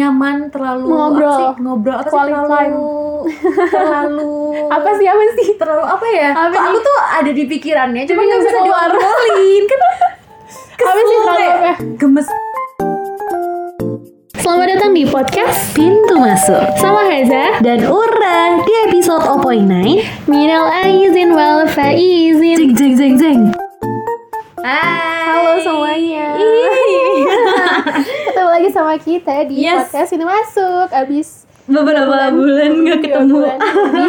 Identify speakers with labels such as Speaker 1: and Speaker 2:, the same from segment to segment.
Speaker 1: nyaman terlalu
Speaker 2: Ngobrol.
Speaker 1: apa sih ngobrol apa
Speaker 2: Quality
Speaker 1: sih terlalu terlalu
Speaker 2: apa sih apa sih
Speaker 1: terlalu apa ya
Speaker 2: Apa
Speaker 1: Kok
Speaker 2: nih?
Speaker 1: aku tuh ada di pikirannya cuma
Speaker 2: Tapi
Speaker 1: nggak
Speaker 2: nggak
Speaker 1: bisa
Speaker 2: bisa keluar.
Speaker 1: diobrolin kan
Speaker 2: apa sih
Speaker 1: kesel
Speaker 2: terlalu
Speaker 1: kayak
Speaker 2: apa
Speaker 1: gemes
Speaker 2: selamat datang di podcast
Speaker 1: pintu masuk
Speaker 2: sama Haza
Speaker 1: dan Ura di episode 0.9
Speaker 2: minal aizin wal faizin
Speaker 1: jeng jeng jeng jeng Hai
Speaker 2: halo semuanya
Speaker 1: Ih.
Speaker 2: ketemu lagi sama kita di
Speaker 1: Yes.
Speaker 2: podcast ini masuk abis
Speaker 1: beberapa bulan nggak ketemu
Speaker 2: Iya,
Speaker 1: Ah,
Speaker 2: bulan ini.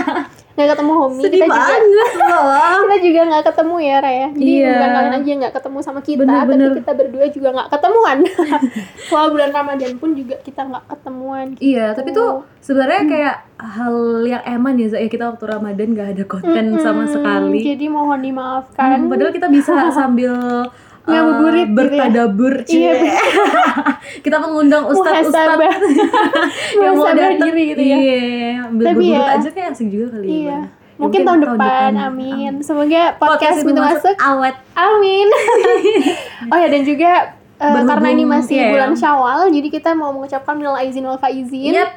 Speaker 2: nggak ketemu Homi
Speaker 1: sedih
Speaker 2: kita juga
Speaker 1: banget loh
Speaker 2: kita juga nggak ketemu ya Raya jadi
Speaker 1: Iya.
Speaker 2: bukan kalian aja yang nggak ketemu sama kita
Speaker 1: Bener-bener.
Speaker 2: tapi kita berdua juga nggak ketemuan selama bulan Ramadan pun juga kita nggak ketemuan
Speaker 1: Iya, tapi
Speaker 2: Oh.
Speaker 1: tuh sebenarnya kayak hal yang eman ya, Za, ya kita waktu Ramadan gak ada konten Kan sama
Speaker 2: Mm-mm. gitu
Speaker 1: sekali.
Speaker 2: jadi mohon dimaafkan
Speaker 1: Hmm, Padahal kita bisa sambil eh,
Speaker 2: Ngabuburit gitu ya.
Speaker 1: bertadabur,
Speaker 2: Iya,
Speaker 1: cie. kita mengundang ustadz-ustadz
Speaker 2: Muhasabah.
Speaker 1: yang mau
Speaker 2: Muhasabah
Speaker 1: datang.
Speaker 2: diri gitu ya.
Speaker 1: Iya, ambil
Speaker 2: Tapi
Speaker 1: buburut
Speaker 2: ya-
Speaker 1: aja kayak asik juga kali
Speaker 2: Iya.
Speaker 1: ya.
Speaker 2: Mungkin, tahun, depan, amin. Semoga podcast,
Speaker 1: itu
Speaker 2: pintu masuk,
Speaker 1: awet.
Speaker 2: amin. oh ya dan juga eh,
Speaker 1: Berhubung,
Speaker 2: karena ini masih
Speaker 1: iya.
Speaker 2: bulan Syawal, jadi kita mau mengucapkan minal aizin wal faizin.
Speaker 1: Yap,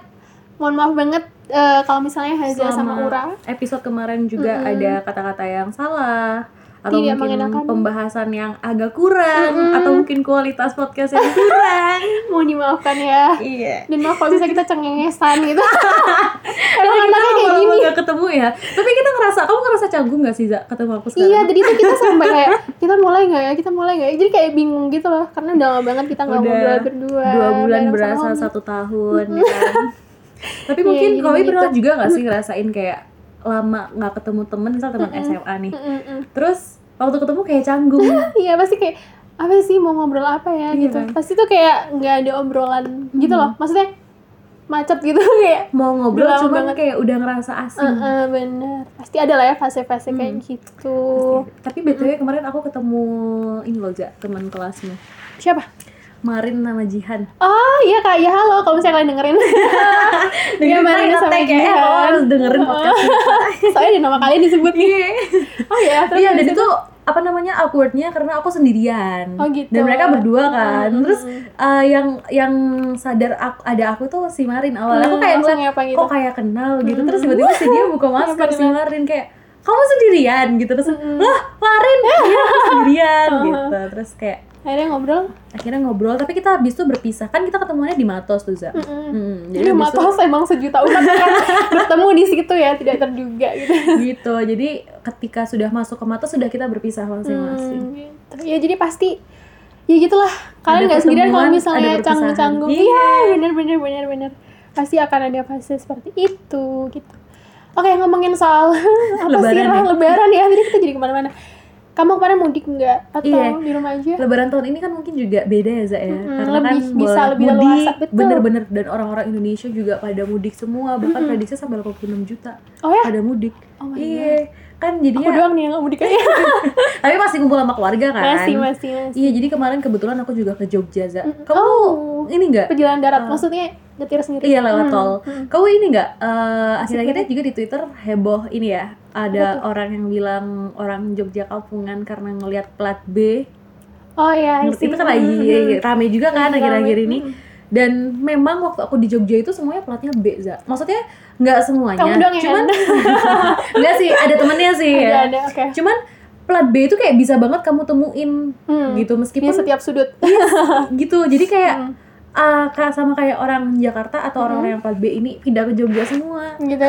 Speaker 2: Mohon maaf banget eh, kalau misalnya Haza sama
Speaker 1: selama
Speaker 2: Ura.
Speaker 1: Episode kemarin juga
Speaker 2: Mm-mm.
Speaker 1: ada kata-kata yang salah atau
Speaker 2: Tidak
Speaker 1: mungkin
Speaker 2: mengenakan.
Speaker 1: pembahasan yang agak kurang
Speaker 2: Mm-mm.
Speaker 1: atau mungkin kualitas podcast yang kurang.
Speaker 2: Mohon dimaafkan ya.
Speaker 1: iya.
Speaker 2: Dan maaf kalau bisa kita cengengesan gitu. Emang
Speaker 1: Karena kita
Speaker 2: anaknya kayak
Speaker 1: lama-lama
Speaker 2: gini.
Speaker 1: gak ketemu ya. Tapi kita ngerasa, kamu ngerasa canggung gak sih Za ketemu aku sekarang?
Speaker 2: Iya, tadi tuh kita sampai kayak kita mulai nggak ya, kita mulai nggak ya. Jadi kayak bingung gitu loh, karena udah lama banget kita nggak
Speaker 1: Udah
Speaker 2: ngobrol berdua.
Speaker 1: Dua bulan
Speaker 2: bareng sama
Speaker 1: berasa
Speaker 2: Homi.
Speaker 1: satu tahun. kan. Tapi
Speaker 2: Iya,
Speaker 1: mungkin
Speaker 2: jadi
Speaker 1: kau pernah
Speaker 2: begitu.
Speaker 1: juga gak sih ngerasain kayak lama gak ketemu temen, misal teman SMA nih.
Speaker 2: Mm-mm.
Speaker 1: Terus waktu ketemu kayak canggung.
Speaker 2: Iya pasti kayak apa sih mau ngobrol apa ya
Speaker 1: Iya
Speaker 2: gitu.
Speaker 1: kan? Hmm.
Speaker 2: Pasti tuh kayak nggak ada obrolan gitu loh. Maksudnya macet gitu kayak.
Speaker 1: Mau ngobrol
Speaker 2: Udah lama
Speaker 1: cuman
Speaker 2: banget.
Speaker 1: kayak udah ngerasa asing.
Speaker 2: eh, eh, bener. Pasti ada lah ya fase-fase kayak
Speaker 1: Hmm.
Speaker 2: gitu.
Speaker 1: Tapi btw kemarin aku ketemu ini loh Ja, teman kelasmu.
Speaker 2: Siapa?
Speaker 1: Marin nama Jihan.
Speaker 2: Oh iya kak, ya halo kalau misalnya kalian dengerin Iya, Marin
Speaker 1: Kita
Speaker 2: sama
Speaker 1: ngetek ya,
Speaker 2: Jihan.
Speaker 1: oh, harus dengerin podcast.
Speaker 2: Soalnya ada nama kalian disebut nih Oh iya, terus
Speaker 1: Iya, dan
Speaker 2: habis
Speaker 1: itu apa namanya awkwardnya karena aku sendirian
Speaker 2: Oh, gitu. Hmm.
Speaker 1: dan mereka berdua kan
Speaker 2: Mm-mm.
Speaker 1: terus eh, yang yang sadar aku, ada aku tuh si Marin awalnya aku
Speaker 2: Hmm,
Speaker 1: kayak
Speaker 2: langsung
Speaker 1: ngeliat,
Speaker 2: nyapa gitu.
Speaker 1: kok kayak kenal gitu
Speaker 2: Hmm.
Speaker 1: terus tiba-tiba si dia buka masker si
Speaker 2: bener.
Speaker 1: Marin kayak kamu sendirian gitu terus
Speaker 2: Hmm.
Speaker 1: lah Marin iya aku sendirian gitu terus kayak
Speaker 2: Akhirnya ngobrol
Speaker 1: akhirnya ngobrol tapi kita habis itu berpisah kan kita ketemuannya di Matos tuh Za Mm, jadi habis
Speaker 2: Jadi
Speaker 1: itu-
Speaker 2: Hmm, Matos emang sejuta umat kan bertemu di situ ya, tidak terduga gitu
Speaker 1: gitu jadi ketika sudah masuk ke Matos sudah kita berpisah masing-masing
Speaker 2: Hmm, gitu. Ya jadi pasti ya gitulah kalian
Speaker 1: Ada
Speaker 2: nggak sendirian kalau
Speaker 1: pertemuan,
Speaker 2: misalnya
Speaker 1: ada perpisahan.
Speaker 2: canggung-canggung.
Speaker 1: Iya.
Speaker 2: Iya, bener bener bener bener. Pasti akan ada fase seperti itu gitu. Oke ngomongin soal apa
Speaker 1: Lebaran
Speaker 2: sih Rah?
Speaker 1: ya.
Speaker 2: lebaran ya tadi kita jadi kemana-mana. Kamu kemarin mudik nggak atau
Speaker 1: Iya.
Speaker 2: di rumah aja?
Speaker 1: Lebaran tahun ini kan mungkin juga beda ya Za ya
Speaker 2: Ya. Mm-mm,
Speaker 1: karena
Speaker 2: lebih-
Speaker 1: kan
Speaker 2: bisa
Speaker 1: boleh
Speaker 2: lebih
Speaker 1: mudik,
Speaker 2: leluasa, betul.
Speaker 1: bener-bener dan orang-orang Indonesia juga pada mudik semua bahkan prediksi sampai 86 juta
Speaker 2: Oh ya,
Speaker 1: pada mudik
Speaker 2: Oh my
Speaker 1: iya kan
Speaker 2: aku
Speaker 1: jadinya
Speaker 2: doang nih yang nggak mudik aja.
Speaker 1: tapi masih kumpul sama keluarga kan
Speaker 2: masih masih masih.
Speaker 1: iya jadi kemarin kebetulan aku juga ke Jogja Za
Speaker 2: Mm-mm.
Speaker 1: Iya. kamu
Speaker 2: Oh.
Speaker 1: ini enggak
Speaker 2: Perjalanan darat maksudnya nyetir sendiri.
Speaker 1: Iya lewat tol.
Speaker 2: Mm.
Speaker 1: Kamu ini nggak eh, akhir-akhirnya juga di Twitter heboh ini ya. Ada orang yang bilang orang Jogja kampungan karena ngelihat plat B.
Speaker 2: Oh ya,
Speaker 1: Menurut itu kan lagi rame juga kan
Speaker 2: Iya,
Speaker 1: akhir-akhir ini. Dan memang waktu aku di Jogja itu semuanya platnya B, Za. Maksudnya nggak semuanya.
Speaker 2: Kamu doang yang
Speaker 1: Cuman nggak sih, ada temennya sih
Speaker 2: Ada
Speaker 1: ya.
Speaker 2: ada oke.
Speaker 1: Cuman plat B itu kayak bisa banget kamu temuin
Speaker 2: Hmm.
Speaker 1: gitu
Speaker 2: Di
Speaker 1: meskipun
Speaker 2: setiap sudut.
Speaker 1: gitu. Jadi
Speaker 2: Iya.
Speaker 1: kayak ah, ka- sama kayak orang Jakarta atau orang-orang
Speaker 2: Hmm.
Speaker 1: yang plat B ini pindah ke Jogja semua.
Speaker 2: gitu.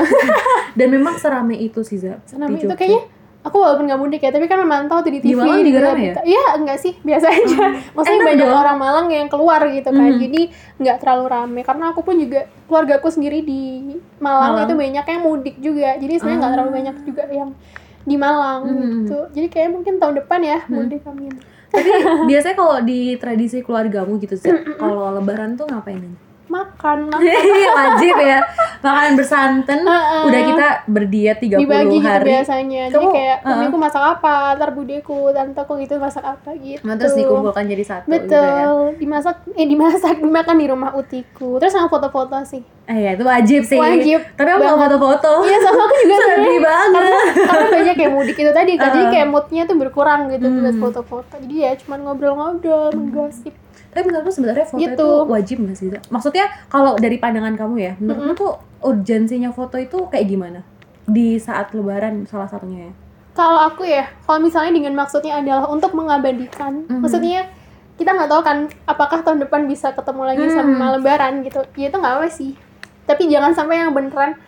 Speaker 1: dan memang serame itu sih Zab
Speaker 2: Senam Nah, itu kayaknya aku walaupun nggak mudik ya, tapi kan memantau tuh di
Speaker 1: Di
Speaker 2: TV.
Speaker 1: Malang juga ramai
Speaker 2: berita. Iya, enggak sih, biasa aja. Maksudnya
Speaker 1: Enak
Speaker 2: banyak
Speaker 1: dong.
Speaker 2: orang Malang yang keluar gitu kan,
Speaker 1: Mhm.
Speaker 2: jadi nggak terlalu rame. Karena aku pun juga keluargaku sendiri di
Speaker 1: Malang.
Speaker 2: Malang,
Speaker 1: Ah.
Speaker 2: itu banyak yang mudik juga, jadi sebenarnya nggak terlalu banyak juga yang di Malang
Speaker 1: Mhm.
Speaker 2: gitu. Jadi kayaknya mungkin tahun depan ya
Speaker 1: Hmm.
Speaker 2: mudik amin.
Speaker 1: tapi biasanya kalau di tradisi keluargamu gitu sih kalau lebaran tuh ngapain aja
Speaker 2: Makan lah.
Speaker 1: wajib ya makanan bersanten
Speaker 2: Heeh.
Speaker 1: udah gitu kita berdiet 30
Speaker 2: Ah, dibagi gitu
Speaker 1: hari
Speaker 2: biasanya. Jadi
Speaker 1: Kamu- ah.
Speaker 2: kayak
Speaker 1: Heeh.
Speaker 2: mamiku masak apa, ntar budeku, tanteku gitu masak apa gitu.
Speaker 1: Nah, terus dikumpulkan jadi satu gitu ya.
Speaker 2: Betul, dimasak eh dimasak dimakan di rumah utiku. Terus sama foto-foto sih.
Speaker 1: Eh, ya, itu wajib sih.
Speaker 2: Wajib
Speaker 1: Tapi aku mau foto-foto.
Speaker 2: Iya, sama aku juga
Speaker 1: Sedih
Speaker 2: sebenarnya.
Speaker 1: banget. Ah.
Speaker 2: Karena banyak kayak mudik itu tadi
Speaker 1: Hmm.
Speaker 2: kan, jadi kayak moodnya tuh berkurang gitu buat foto-foto. Jadi ya cuman ngobrol-ngobrol, menggosip.
Speaker 1: Tapi menurut lu sebenarnya foto
Speaker 2: Gitu.
Speaker 1: itu wajib nggak sih? Za? Maksudnya kalau dari pandangan kamu ya, menurut lu tuh urgensinya foto itu kayak gimana? Di saat lebaran salah satunya ya.
Speaker 2: Kalau aku ya, kalau misalnya dengan maksudnya adalah untuk mengabadikan,
Speaker 1: Mhm.
Speaker 2: maksudnya kita nggak tahu kan apakah tahun depan bisa ketemu lagi
Speaker 1: Hmm.
Speaker 2: sama Lebaran gitu. Ya itu nggak apa sih. Tapi jangan sampai yang beneran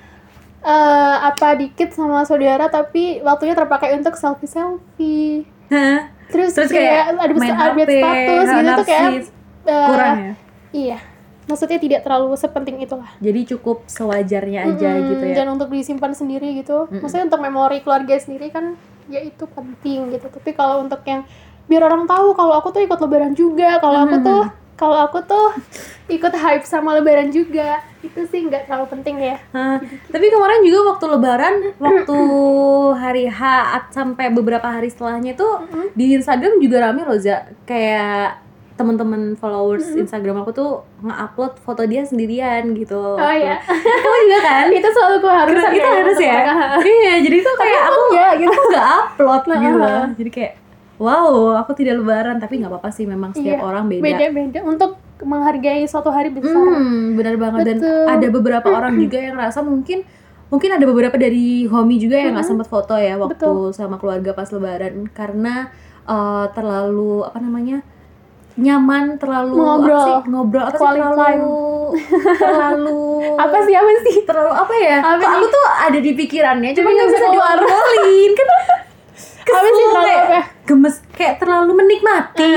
Speaker 2: eh, apa dikit sama saudara tapi waktunya terpakai untuk selfie selfie.
Speaker 1: Hah?
Speaker 2: Terus,
Speaker 1: Terus
Speaker 2: kayak,
Speaker 1: kayak
Speaker 2: Iya, ada
Speaker 1: main
Speaker 2: update
Speaker 1: HP,
Speaker 2: status
Speaker 1: hal
Speaker 2: gitu tuh kayak
Speaker 1: narsis,
Speaker 2: eh,
Speaker 1: kurang ya.
Speaker 2: Iya, maksudnya tidak terlalu sepenting itulah.
Speaker 1: Jadi cukup sewajarnya aja
Speaker 2: Mm-mm,
Speaker 1: gitu ya.
Speaker 2: Dan untuk disimpan sendiri gitu.
Speaker 1: Mm-mm.
Speaker 2: Maksudnya untuk memori keluarga sendiri kan ya itu penting gitu. Tapi kalau untuk yang biar orang tahu kalau aku tuh ikut lebaran juga, kalau aku tuh kalau aku tuh ikut hype sama lebaran juga. Itu sih nggak terlalu penting ya.
Speaker 1: Hah, tapi kemarin juga waktu lebaran, waktu hari H at- sampai beberapa hari setelahnya tuh di Instagram juga rame loh Za. Kayak temen-temen followers Instagram aku tuh nge-upload foto dia sendirian gitu.
Speaker 2: Oh iya.
Speaker 1: Kamu juga kan?
Speaker 2: itu selalu gue harus
Speaker 1: Keren, itu harus ya. Iya, jadi tuh kayak aku
Speaker 2: Enggak gitu.
Speaker 1: aku nggak upload gitu.
Speaker 2: Nah,
Speaker 1: loh. Jadi kayak wow, aku tidak lebaran tapi nggak apa-apa sih memang setiap
Speaker 2: Iya,
Speaker 1: orang beda.
Speaker 2: Beda-beda untuk menghargai suatu hari besar.
Speaker 1: Hmm, benar banget dan
Speaker 2: Betul.
Speaker 1: ada beberapa orang juga yang rasa mungkin mungkin ada beberapa dari homi juga yang
Speaker 2: Hmm.
Speaker 1: nggak sempat foto ya waktu sama keluarga pas lebaran karena eh, terlalu apa namanya nyaman terlalu apa
Speaker 2: Ngobrol.
Speaker 1: sih, ngobrol apa sih,
Speaker 2: Quality
Speaker 1: terlalu terlalu
Speaker 2: Apa sih apa sih?
Speaker 1: terlalu apa ya
Speaker 2: Apa
Speaker 1: Kok
Speaker 2: nih? Iya,
Speaker 1: aku tuh ada di pikirannya cuma
Speaker 2: Tapi
Speaker 1: nggak
Speaker 2: nggak
Speaker 1: bisa
Speaker 2: bisa keluar.
Speaker 1: diobrolin kan
Speaker 2: Apa sih
Speaker 1: kesel,
Speaker 2: terlalu
Speaker 1: kayak
Speaker 2: apa?
Speaker 1: gemes kayak terlalu menikmati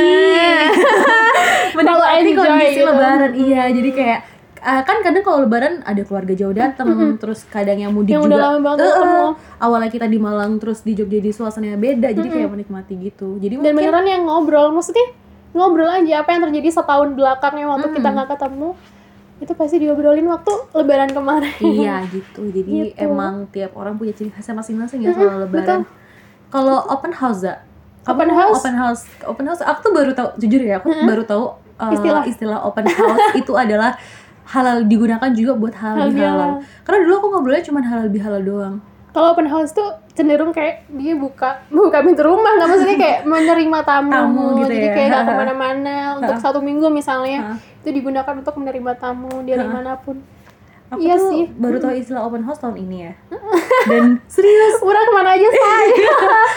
Speaker 1: menikmati
Speaker 2: enjoy
Speaker 1: kondisi
Speaker 2: gitu.
Speaker 1: lebaran iya jadi kayak eh, kan kadang kalau lebaran ada keluarga jauh datang terus kadang yang mudik
Speaker 2: Yang
Speaker 1: juga
Speaker 2: udah lama banget
Speaker 1: Eh, eh,
Speaker 2: ketemu.
Speaker 1: awalnya kita di Malang terus di Jogja jadi suasananya beda jadi kayak menikmati gitu jadi
Speaker 2: dan
Speaker 1: mungkin
Speaker 2: beneran yang ngobrol maksudnya ngobrol aja apa yang terjadi setahun belakangnya waktu kita nggak ketemu itu pasti diobrolin waktu lebaran kemarin
Speaker 1: iya gitu jadi
Speaker 2: Gitu.
Speaker 1: emang tiap orang punya ciri khasnya masing-masing ya soal lebaran kalau open house Za, kamu
Speaker 2: Open house?
Speaker 1: open house open house aku tuh baru tahu jujur ya aku baru tahu uh,
Speaker 2: Istilah.
Speaker 1: istilah open house itu adalah halal digunakan juga buat halal
Speaker 2: Halal iya.
Speaker 1: bihalal karena dulu aku ngobrolnya cuma halal bihalal doang
Speaker 2: kalau open house tuh cenderung kayak dia buka buka pintu rumah nggak maksudnya kayak menerima tamu,
Speaker 1: Tamu gitu
Speaker 2: jadi
Speaker 1: ya.
Speaker 2: kayak nggak kemana-mana untuk satu minggu misalnya
Speaker 1: Ha.
Speaker 2: itu digunakan untuk menerima tamu dari manapun
Speaker 1: aku
Speaker 2: Iya
Speaker 1: tuh
Speaker 2: sih.
Speaker 1: baru tahu istilah open house tahun ini ya dan serius
Speaker 2: Urang kemana aja say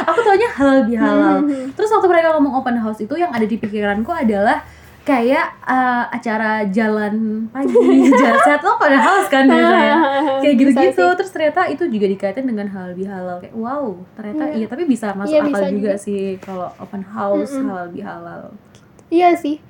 Speaker 1: aku taunya halal
Speaker 2: Hmm,
Speaker 1: bihalal terus waktu mereka ngomong open house itu yang ada di pikiranku adalah kayak eh, acara jalan pagi jasad lo pada house kan biasanya kayak
Speaker 2: Ah, Bisa
Speaker 1: gitu-gitu
Speaker 2: sih.
Speaker 1: terus ternyata itu juga dikaitin dengan halal bihalal kayak wow ternyata iya tapi bisa masuk
Speaker 2: Iya,
Speaker 1: akal
Speaker 2: bisa
Speaker 1: juga, sih kalau open house halal bihalal
Speaker 2: Iya sih.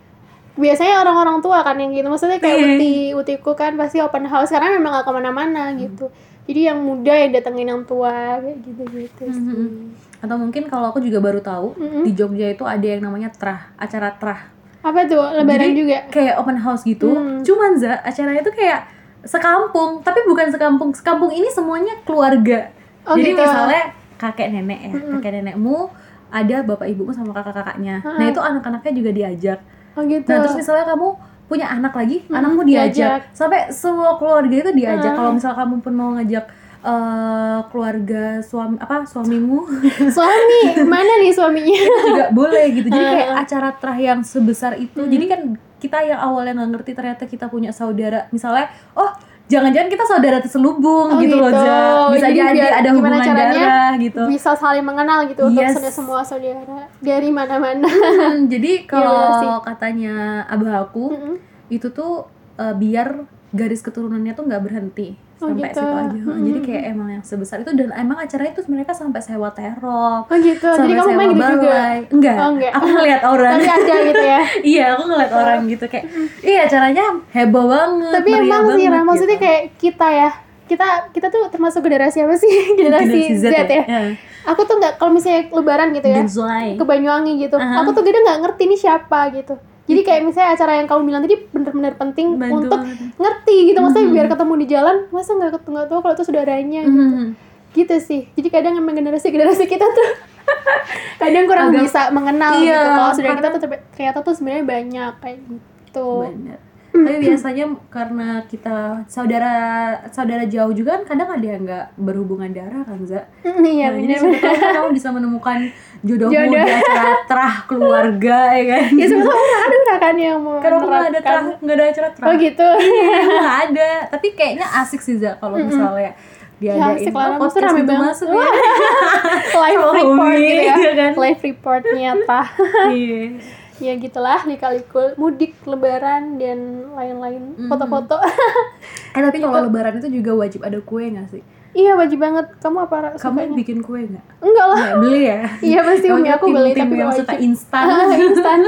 Speaker 2: Biasanya orang-orang tua kan yang gitu. Maksudnya kayak
Speaker 1: Iya.
Speaker 2: uti, utiku kan pasti open house karena memang gak kemana-mana
Speaker 1: Hmm.
Speaker 2: gitu. Jadi yang muda yang datengin yang tua kayak gitu-gitu sih.
Speaker 1: Hmm. atau mungkin kalau aku juga baru tahu di Jogja itu ada yang namanya trah acara trah
Speaker 2: Apa tuh lebaran
Speaker 1: Jadi,
Speaker 2: juga?
Speaker 1: kayak open house gitu
Speaker 2: Hmm.
Speaker 1: cuman za acaranya itu kayak sekampung tapi bukan sekampung sekampung ini semuanya keluarga
Speaker 2: Oh,
Speaker 1: jadi
Speaker 2: gitu. Hmm.
Speaker 1: misalnya kakek nenek ya kakek nenekmu ada bapak ibumu sama kakak kakaknya nah
Speaker 2: Hmm.
Speaker 1: itu anak-anaknya juga diajak
Speaker 2: Oh gitu.
Speaker 1: Nah terus misalnya kamu punya anak lagi,
Speaker 2: Hmm,
Speaker 1: anakmu diajak. sampai semua keluarga itu diajak. Kalau misal kamu pun mau ngajak eh, keluarga suami apa suamimu
Speaker 2: Suami, mana nih suaminya?
Speaker 1: juga boleh gitu. Jadi kayak acara terah yang sebesar itu.
Speaker 2: Hmm.
Speaker 1: Jadi kan kita yang awalnya nggak ngerti ternyata kita punya saudara. Misalnya, oh jangan-jangan kita saudara terselubung
Speaker 2: Oh,
Speaker 1: gitu, loh,
Speaker 2: gitu.
Speaker 1: Ja. Bisa
Speaker 2: Jadi
Speaker 1: jadi,
Speaker 2: biar
Speaker 1: ada
Speaker 2: gimana
Speaker 1: hubungan
Speaker 2: caranya Iya
Speaker 1: darah gitu.
Speaker 2: Bisa saling mengenal gitu untuk
Speaker 1: Yes.
Speaker 2: saudara semua saudara dari mana-mana.
Speaker 1: Hmm, jadi
Speaker 2: benar Iya sih. Hmm.
Speaker 1: kalau katanya abah aku
Speaker 2: Mm-mm.
Speaker 1: itu tuh eh, biar garis keturunannya tuh nggak berhenti
Speaker 2: Oh,
Speaker 1: sampai
Speaker 2: gitu.
Speaker 1: situ aja.
Speaker 2: Mm-mm.
Speaker 1: Jadi kayak emang yang sebesar itu dan emang acaranya itu mereka sampai sewa terop.
Speaker 2: Oh gitu. Jadi
Speaker 1: sampai
Speaker 2: kamu main gitu juga.
Speaker 1: balai. Enggak,
Speaker 2: Oh, enggak.
Speaker 1: Aku ngeliat orang.
Speaker 2: Tapi ada gitu ya.
Speaker 1: iya, aku ngeliat orang gitu kayak iya acaranya heboh banget.
Speaker 2: tapi
Speaker 1: meriah
Speaker 2: emang sih
Speaker 1: banget
Speaker 2: Ra, maksudnya
Speaker 1: gitu.
Speaker 2: kayak kita ya kita kita tuh termasuk generasi apa sih generasi, Z, ya,
Speaker 1: Iya.
Speaker 2: aku tuh nggak kalau misalnya lebaran gitu ya
Speaker 1: Gen Y.
Speaker 2: ke Banyuwangi gitu
Speaker 1: Aha.
Speaker 2: aku tuh gede nggak ngerti nih siapa gitu jadi kayak misalnya acara yang kamu bilang tadi bener-bener penting
Speaker 1: Bantu
Speaker 2: untuk
Speaker 1: banget.
Speaker 2: ngerti gitu maksudnya biar ketemu di jalan masa nggak ketemu nggak tahu kalau itu saudaranya
Speaker 1: Mhm.
Speaker 2: gitu sih jadi kadang emang generasi generasi kita tuh kadang kurang
Speaker 1: Agak-
Speaker 2: bisa mengenal
Speaker 1: Iya,
Speaker 2: gitu kalau saudara kita
Speaker 1: karena-
Speaker 2: tuh ternyata tuh sebenarnya banyak kayak gitu
Speaker 1: Bener. tapi biasanya karena kita saudara saudara jauh juga kan kadang ada yang nggak berhubungan darah kan za
Speaker 2: Iya
Speaker 1: Nah, jadi siapa
Speaker 2: bener
Speaker 1: tahu kan kamu bisa menemukan jodohmu
Speaker 2: Jodoh.
Speaker 1: di acara terah keluarga ya kan
Speaker 2: Ya sebetulnya orang ada orang kan yang mau
Speaker 1: karena aku nggak ada terah nggak ada acara terah
Speaker 2: Oh gitu.
Speaker 1: nggak ada tapi kayaknya asik sih za kalau misalnya
Speaker 2: Ya,
Speaker 1: diadain
Speaker 2: asik
Speaker 1: oh,
Speaker 2: lah, maksudnya
Speaker 1: podcast
Speaker 2: rame
Speaker 1: pintu
Speaker 2: banget.
Speaker 1: masuk ya
Speaker 2: Live
Speaker 1: Sama
Speaker 2: report
Speaker 1: hobi,
Speaker 2: gitu ya.
Speaker 1: iya kan?
Speaker 2: Live report nyata.
Speaker 1: Iya.
Speaker 2: ya gitulah dikalikul mudik lebaran dan lain-lain
Speaker 1: Mhm.
Speaker 2: foto-foto
Speaker 1: eh tapi kalau lebaran itu juga wajib ada kue nggak sih
Speaker 2: iya wajib banget kamu apa Ra,
Speaker 1: kamu
Speaker 2: sukanya?
Speaker 1: bikin kue nggak
Speaker 2: enggak lah
Speaker 1: nggak beli ya
Speaker 2: iya pasti
Speaker 1: Kamu
Speaker 2: umi aku
Speaker 1: tim-
Speaker 2: beli
Speaker 1: tim
Speaker 2: tapi
Speaker 1: yang suka
Speaker 2: wajib Ah.
Speaker 1: instan
Speaker 2: instan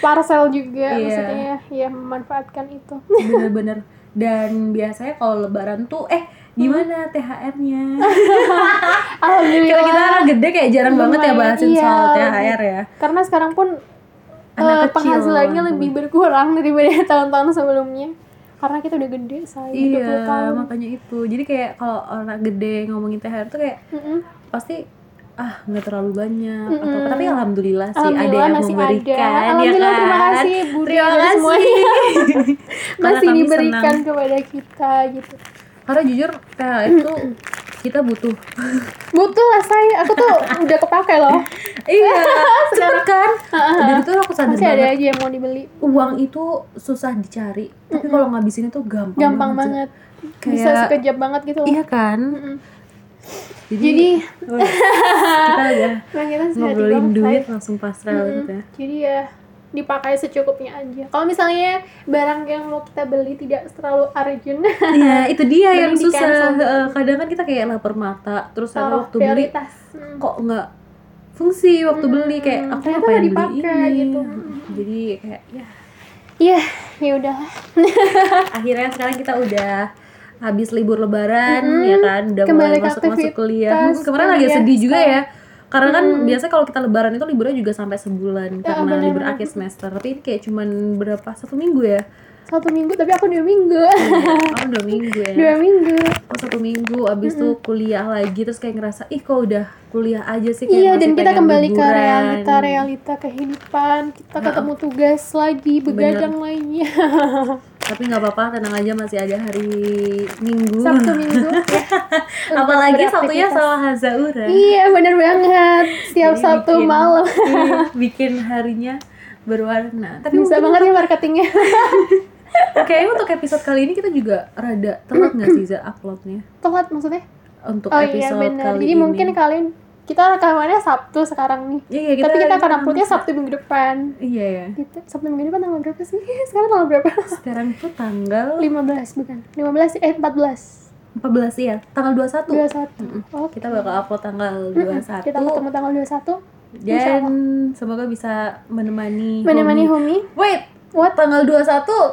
Speaker 2: parcel juga
Speaker 1: Iya.
Speaker 2: maksudnya ya memanfaatkan itu
Speaker 1: bener-bener dan biasanya kalau lebaran tuh eh gimana
Speaker 2: Hmm.
Speaker 1: THR-nya kita kita
Speaker 2: alhamdulillah
Speaker 1: orang gede kayak jarang banget ya
Speaker 2: Lumayan,
Speaker 1: bahasin
Speaker 2: iya.
Speaker 1: soal THR ya
Speaker 2: karena sekarang pun
Speaker 1: Anak
Speaker 2: eh,
Speaker 1: kecil.
Speaker 2: penghasilannya lebih berkurang daripada tahun-tahun sebelumnya karena kita udah gede saya 20
Speaker 1: iya
Speaker 2: tahun
Speaker 1: makanya itu jadi kayak kalau orang gede ngomongin THR tuh kayak
Speaker 2: Mm-mm.
Speaker 1: pasti ah nggak terlalu banyak
Speaker 2: Mm-mm.
Speaker 1: atau apa. tapi alhamdulillah sih
Speaker 2: Alhamdulillah
Speaker 1: ada yang
Speaker 2: masih
Speaker 1: memberikan
Speaker 2: ada.
Speaker 1: ya
Speaker 2: Alhamdulillah
Speaker 1: kan
Speaker 2: terima kasih Budi
Speaker 1: terima
Speaker 2: dan
Speaker 1: kasih
Speaker 2: semuanya.
Speaker 1: Karena
Speaker 2: masih
Speaker 1: kami
Speaker 2: diberikan
Speaker 1: senang.
Speaker 2: kepada kita gitu
Speaker 1: karena jujur THR itu kita butuh
Speaker 2: butuh lah saya aku tuh udah kepake loh
Speaker 1: iya cepet kan
Speaker 2: Ha-ha.
Speaker 1: dan itu aku sadar
Speaker 2: masih ada
Speaker 1: banget
Speaker 2: aja yang mau dibeli
Speaker 1: uang itu susah dicari tapi kalau ngabisin itu gampang
Speaker 2: gampang banget bisa
Speaker 1: Kayak-
Speaker 2: sekejap banget gitu loh
Speaker 1: iya kan
Speaker 2: Mm-mm.
Speaker 1: jadi,
Speaker 2: jadi
Speaker 1: Wih, kita udah
Speaker 2: nah kita sudah
Speaker 1: ngobrolin
Speaker 2: tiba,
Speaker 1: duit
Speaker 2: Shay.
Speaker 1: langsung pasrah
Speaker 2: Mm-mm.
Speaker 1: gitu ya
Speaker 2: jadi ya dipakai secukupnya aja kalau misalnya barang yang mau kita beli tidak terlalu urgent
Speaker 1: Iya, itu dia
Speaker 2: Beli
Speaker 1: yang
Speaker 2: di
Speaker 1: susah.
Speaker 2: cancel.
Speaker 1: Heeh, Kadang kan kita kayak lapar mata, terus ada
Speaker 2: taruh
Speaker 1: waktu beli
Speaker 2: prioritas Mm.
Speaker 1: kok nggak fungsi waktu
Speaker 2: Mm-mm.
Speaker 1: beli kayak aku
Speaker 2: Ternyata
Speaker 1: ngapain
Speaker 2: nggak
Speaker 1: beli
Speaker 2: dipakai,
Speaker 1: ini.
Speaker 2: gitu.
Speaker 1: Jadi kayak ya
Speaker 2: iya ya udahlah
Speaker 1: akhirnya sekarang kita udah habis libur lebaran
Speaker 2: Mm-mm.
Speaker 1: ya kan udah
Speaker 2: Hmm, Kembali
Speaker 1: mulai
Speaker 2: ke
Speaker 1: masuk masuk
Speaker 2: aktivitas
Speaker 1: kuliah Hmm, kemarin agak
Speaker 2: kuliah
Speaker 1: sedih juga ya
Speaker 2: sekarang. Hmm.
Speaker 1: karena kan biasa kalau kita lebaran itu liburnya juga sampai sebulan
Speaker 2: Ya,
Speaker 1: karena
Speaker 2: bener,
Speaker 1: libur
Speaker 2: bener.
Speaker 1: akhir semester tapi ini kayak cuman berapa satu minggu ya
Speaker 2: satu minggu tapi aku dua minggu
Speaker 1: oh dua minggu ya
Speaker 2: dua minggu
Speaker 1: Oh, satu minggu abis itu kuliah lagi terus kayak ngerasa ih kok udah kuliah aja sih kayak
Speaker 2: Iya
Speaker 1: masih
Speaker 2: dan kita
Speaker 1: pengen
Speaker 2: kembali ke
Speaker 1: liburan."
Speaker 2: realita realita kehidupan kita
Speaker 1: Nah.
Speaker 2: ketemu tugas lagi begadang lainnya
Speaker 1: tapi nggak apa-apa tenang aja masih ada hari minggu Nah,
Speaker 2: Sabtu minggu ya.
Speaker 1: apalagi
Speaker 2: Untuk
Speaker 1: satunya
Speaker 2: beraktivitas.
Speaker 1: sama Hazaura
Speaker 2: iya bener banget setiap
Speaker 1: Jadi
Speaker 2: Sabtu
Speaker 1: bikin-
Speaker 2: malam
Speaker 1: iya, bikin harinya berwarna tapi
Speaker 2: bisa
Speaker 1: mungkin
Speaker 2: banget ya marketingnya
Speaker 1: kayaknya untuk episode kali ini kita juga rada telat nggak sih Za uploadnya
Speaker 2: telat maksudnya
Speaker 1: untuk
Speaker 2: oh iya
Speaker 1: episode
Speaker 2: bener
Speaker 1: kali
Speaker 2: jadi
Speaker 1: ini
Speaker 2: mungkin kalian kita rekamannya Sabtu sekarang nih
Speaker 1: Iya, iya,
Speaker 2: tapi kita akan
Speaker 1: rekaman
Speaker 2: uploadnya Sabtu minggu depan
Speaker 1: iya ya
Speaker 2: gitu. Sabtu minggu depan tanggal berapa sih sekarang tanggal berapa
Speaker 1: sekarang tuh tanggal
Speaker 2: 15 bukan 15 eh 14
Speaker 1: 14 ya tanggal 21 Mm-mm.
Speaker 2: 21 Oh, oke
Speaker 1: kita bakal upload tanggal 21
Speaker 2: kita ketemu tanggal 21 Insya
Speaker 1: Dan semoga bisa menemani
Speaker 2: menemani
Speaker 1: Homi.
Speaker 2: Homi
Speaker 1: Wait, what? Tanggal 21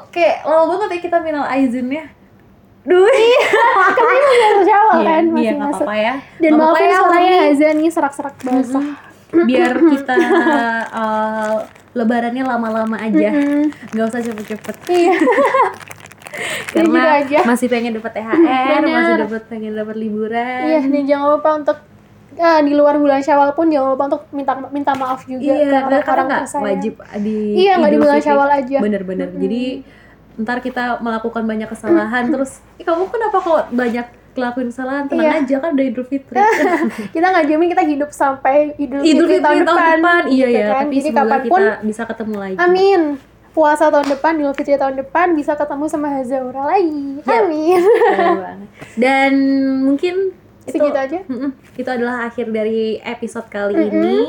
Speaker 1: kayak lama banget ya kita final izinnya. Duh.
Speaker 2: harus awal
Speaker 1: Iya,
Speaker 2: kan Iya, masih
Speaker 1: iya, nggak
Speaker 2: masuk
Speaker 1: apa-apa ya.
Speaker 2: dan
Speaker 1: Nggak
Speaker 2: maafin
Speaker 1: apa-apa ya,
Speaker 2: suaranya
Speaker 1: Homi.
Speaker 2: Haza nih serak-serak basah
Speaker 1: biar kita uh, lebarannya lama-lama aja.
Speaker 2: Mm-mm.
Speaker 1: nggak usah cepet-cepet.
Speaker 2: iya Ini
Speaker 1: Karena
Speaker 2: juga aja.
Speaker 1: masih pengen dapat THR,
Speaker 2: Bener.
Speaker 1: masih dapat pengen dapat liburan.
Speaker 2: iya dan jangan lupa untuk eh, di luar bulan Syawal pun jangan lupa untuk minta minta maaf juga
Speaker 1: Iya,
Speaker 2: ke
Speaker 1: karena
Speaker 2: orang-orang
Speaker 1: nggak
Speaker 2: tersayang.
Speaker 1: wajib di
Speaker 2: iya nggak di
Speaker 1: Idul
Speaker 2: bulan
Speaker 1: Fitri.
Speaker 2: Syawal aja
Speaker 1: Bener-bener. Jadi ntar kita melakukan banyak kesalahan terus, "Ih, kamu kenapa kok banyak ngelakuin kesalahan? Tenang
Speaker 2: Iya.
Speaker 1: aja kan udah Idul Fitri.
Speaker 2: kita nggak jamin kita hidup sampai Idul,
Speaker 1: Idul Fitri tahun depan. Iya
Speaker 2: gitu
Speaker 1: ya,
Speaker 2: kan.
Speaker 1: tapi
Speaker 2: Jadi
Speaker 1: semoga
Speaker 2: kapanpun-
Speaker 1: kita bisa ketemu lagi.
Speaker 2: amin puasa tahun depan Idul Fitri tahun depan bisa ketemu sama Hazaura lagi
Speaker 1: Iya.
Speaker 2: amin
Speaker 1: Keren banget. Dan mungkin itu,
Speaker 2: segitu aja
Speaker 1: Mm-mm. itu adalah akhir dari episode kali
Speaker 2: Mm-mm.
Speaker 1: ini.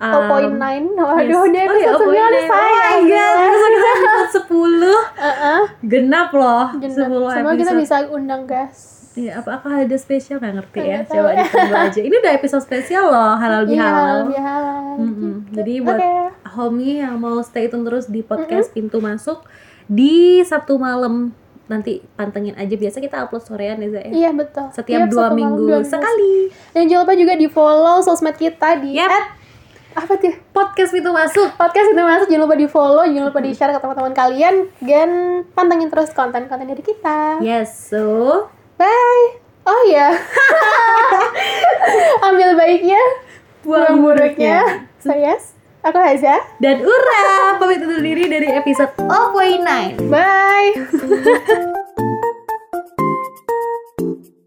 Speaker 2: Oh,
Speaker 1: Um,
Speaker 2: poin nine,
Speaker 1: yes.
Speaker 2: waduh, udah
Speaker 1: Oh, iya,
Speaker 2: episode 9
Speaker 1: 0.9.
Speaker 2: saya.
Speaker 1: Oh my god, besok kita episode 10.
Speaker 2: Heeh.
Speaker 1: Genap loh.
Speaker 2: Genap.
Speaker 1: 10
Speaker 2: Semoga kita
Speaker 1: episode.
Speaker 2: bisa undang guys.
Speaker 1: Iya, apakah ada spesial nggak ngerti
Speaker 2: Nggak
Speaker 1: ya?
Speaker 2: tahu.
Speaker 1: Coba ditunggu aja. Ini udah episode spesial loh, halal bihalal.
Speaker 2: Iya, halal.
Speaker 1: Mm-mm. Jadi
Speaker 2: Oke.
Speaker 1: buat Homie yang mau stay tune terus di podcast Pintu Masuk di Sabtu malam nanti pantengin aja. Biasa kita upload sorean ya, Za, ya?
Speaker 2: Iya, betul.
Speaker 1: Setiap
Speaker 2: Tiap
Speaker 1: dua
Speaker 2: satu malam,
Speaker 1: minggu
Speaker 2: dua
Speaker 1: sekali. Iya.
Speaker 2: Dan jangan lupa juga di-follow sosmed kita di
Speaker 1: Yap.
Speaker 2: at- apa tuh? ya?
Speaker 1: Podcast Pintu Masuk.
Speaker 2: Podcast itu masuk, jangan lupa di-follow, jangan lupa di-share ke teman-teman kalian dan pantengin terus konten-konten dari
Speaker 1: Iya.
Speaker 2: kita.
Speaker 1: Yes, so
Speaker 2: Bye. Oh iya. Ambil baiknya, buang buruknya. So yes. Aku Haza. Oh,
Speaker 1: Dan Ura, pamit undur diri dari episode
Speaker 3: 0.9
Speaker 2: Bye.